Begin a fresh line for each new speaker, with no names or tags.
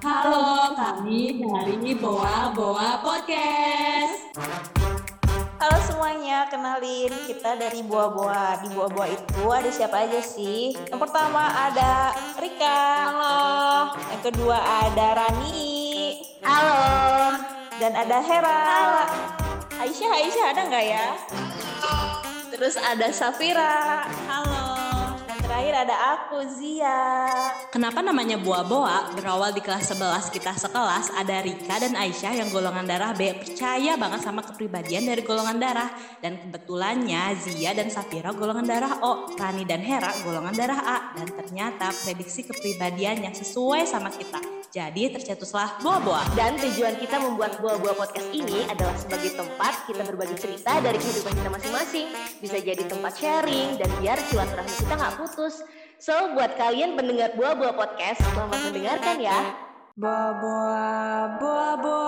Halo, kami dari Boa Boa Podcast.
Halo semuanya, kenalin kita dari Boa Boa. Di Boa Boa itu ada siapa aja sih? Yang pertama ada Rika. Halo. Yang kedua ada Rani. Halo. Dan ada Hera. Aisyah, Aisyah ada nggak ya? Terus ada Safira. Halo. Dan terakhir ada aku Zia.
Kenapa namanya Boa Boa? Berawal di kelas 11 kita sekelas, ada Rika dan Aisyah yang golongan darah B percaya banget sama kepribadian dari golongan darah. Dan kebetulannya Zia dan Safira golongan darah O, Rani dan Hera golongan darah A. Dan ternyata prediksi kepribadian yang sesuai sama kita. Jadi tercetuslah Boa Boa.
Dan tujuan kita membuat buah-buah podcast ini adalah sebagai tempat kita berbagi cerita dari kehidupan kita masing-masing. Bisa jadi tempat sharing dan biar silaturahmi kita nggak putus. So, buat kalian pendengar buah-buah podcast, selamat mendengarkan ya.
Boa Boa, Boa Boa.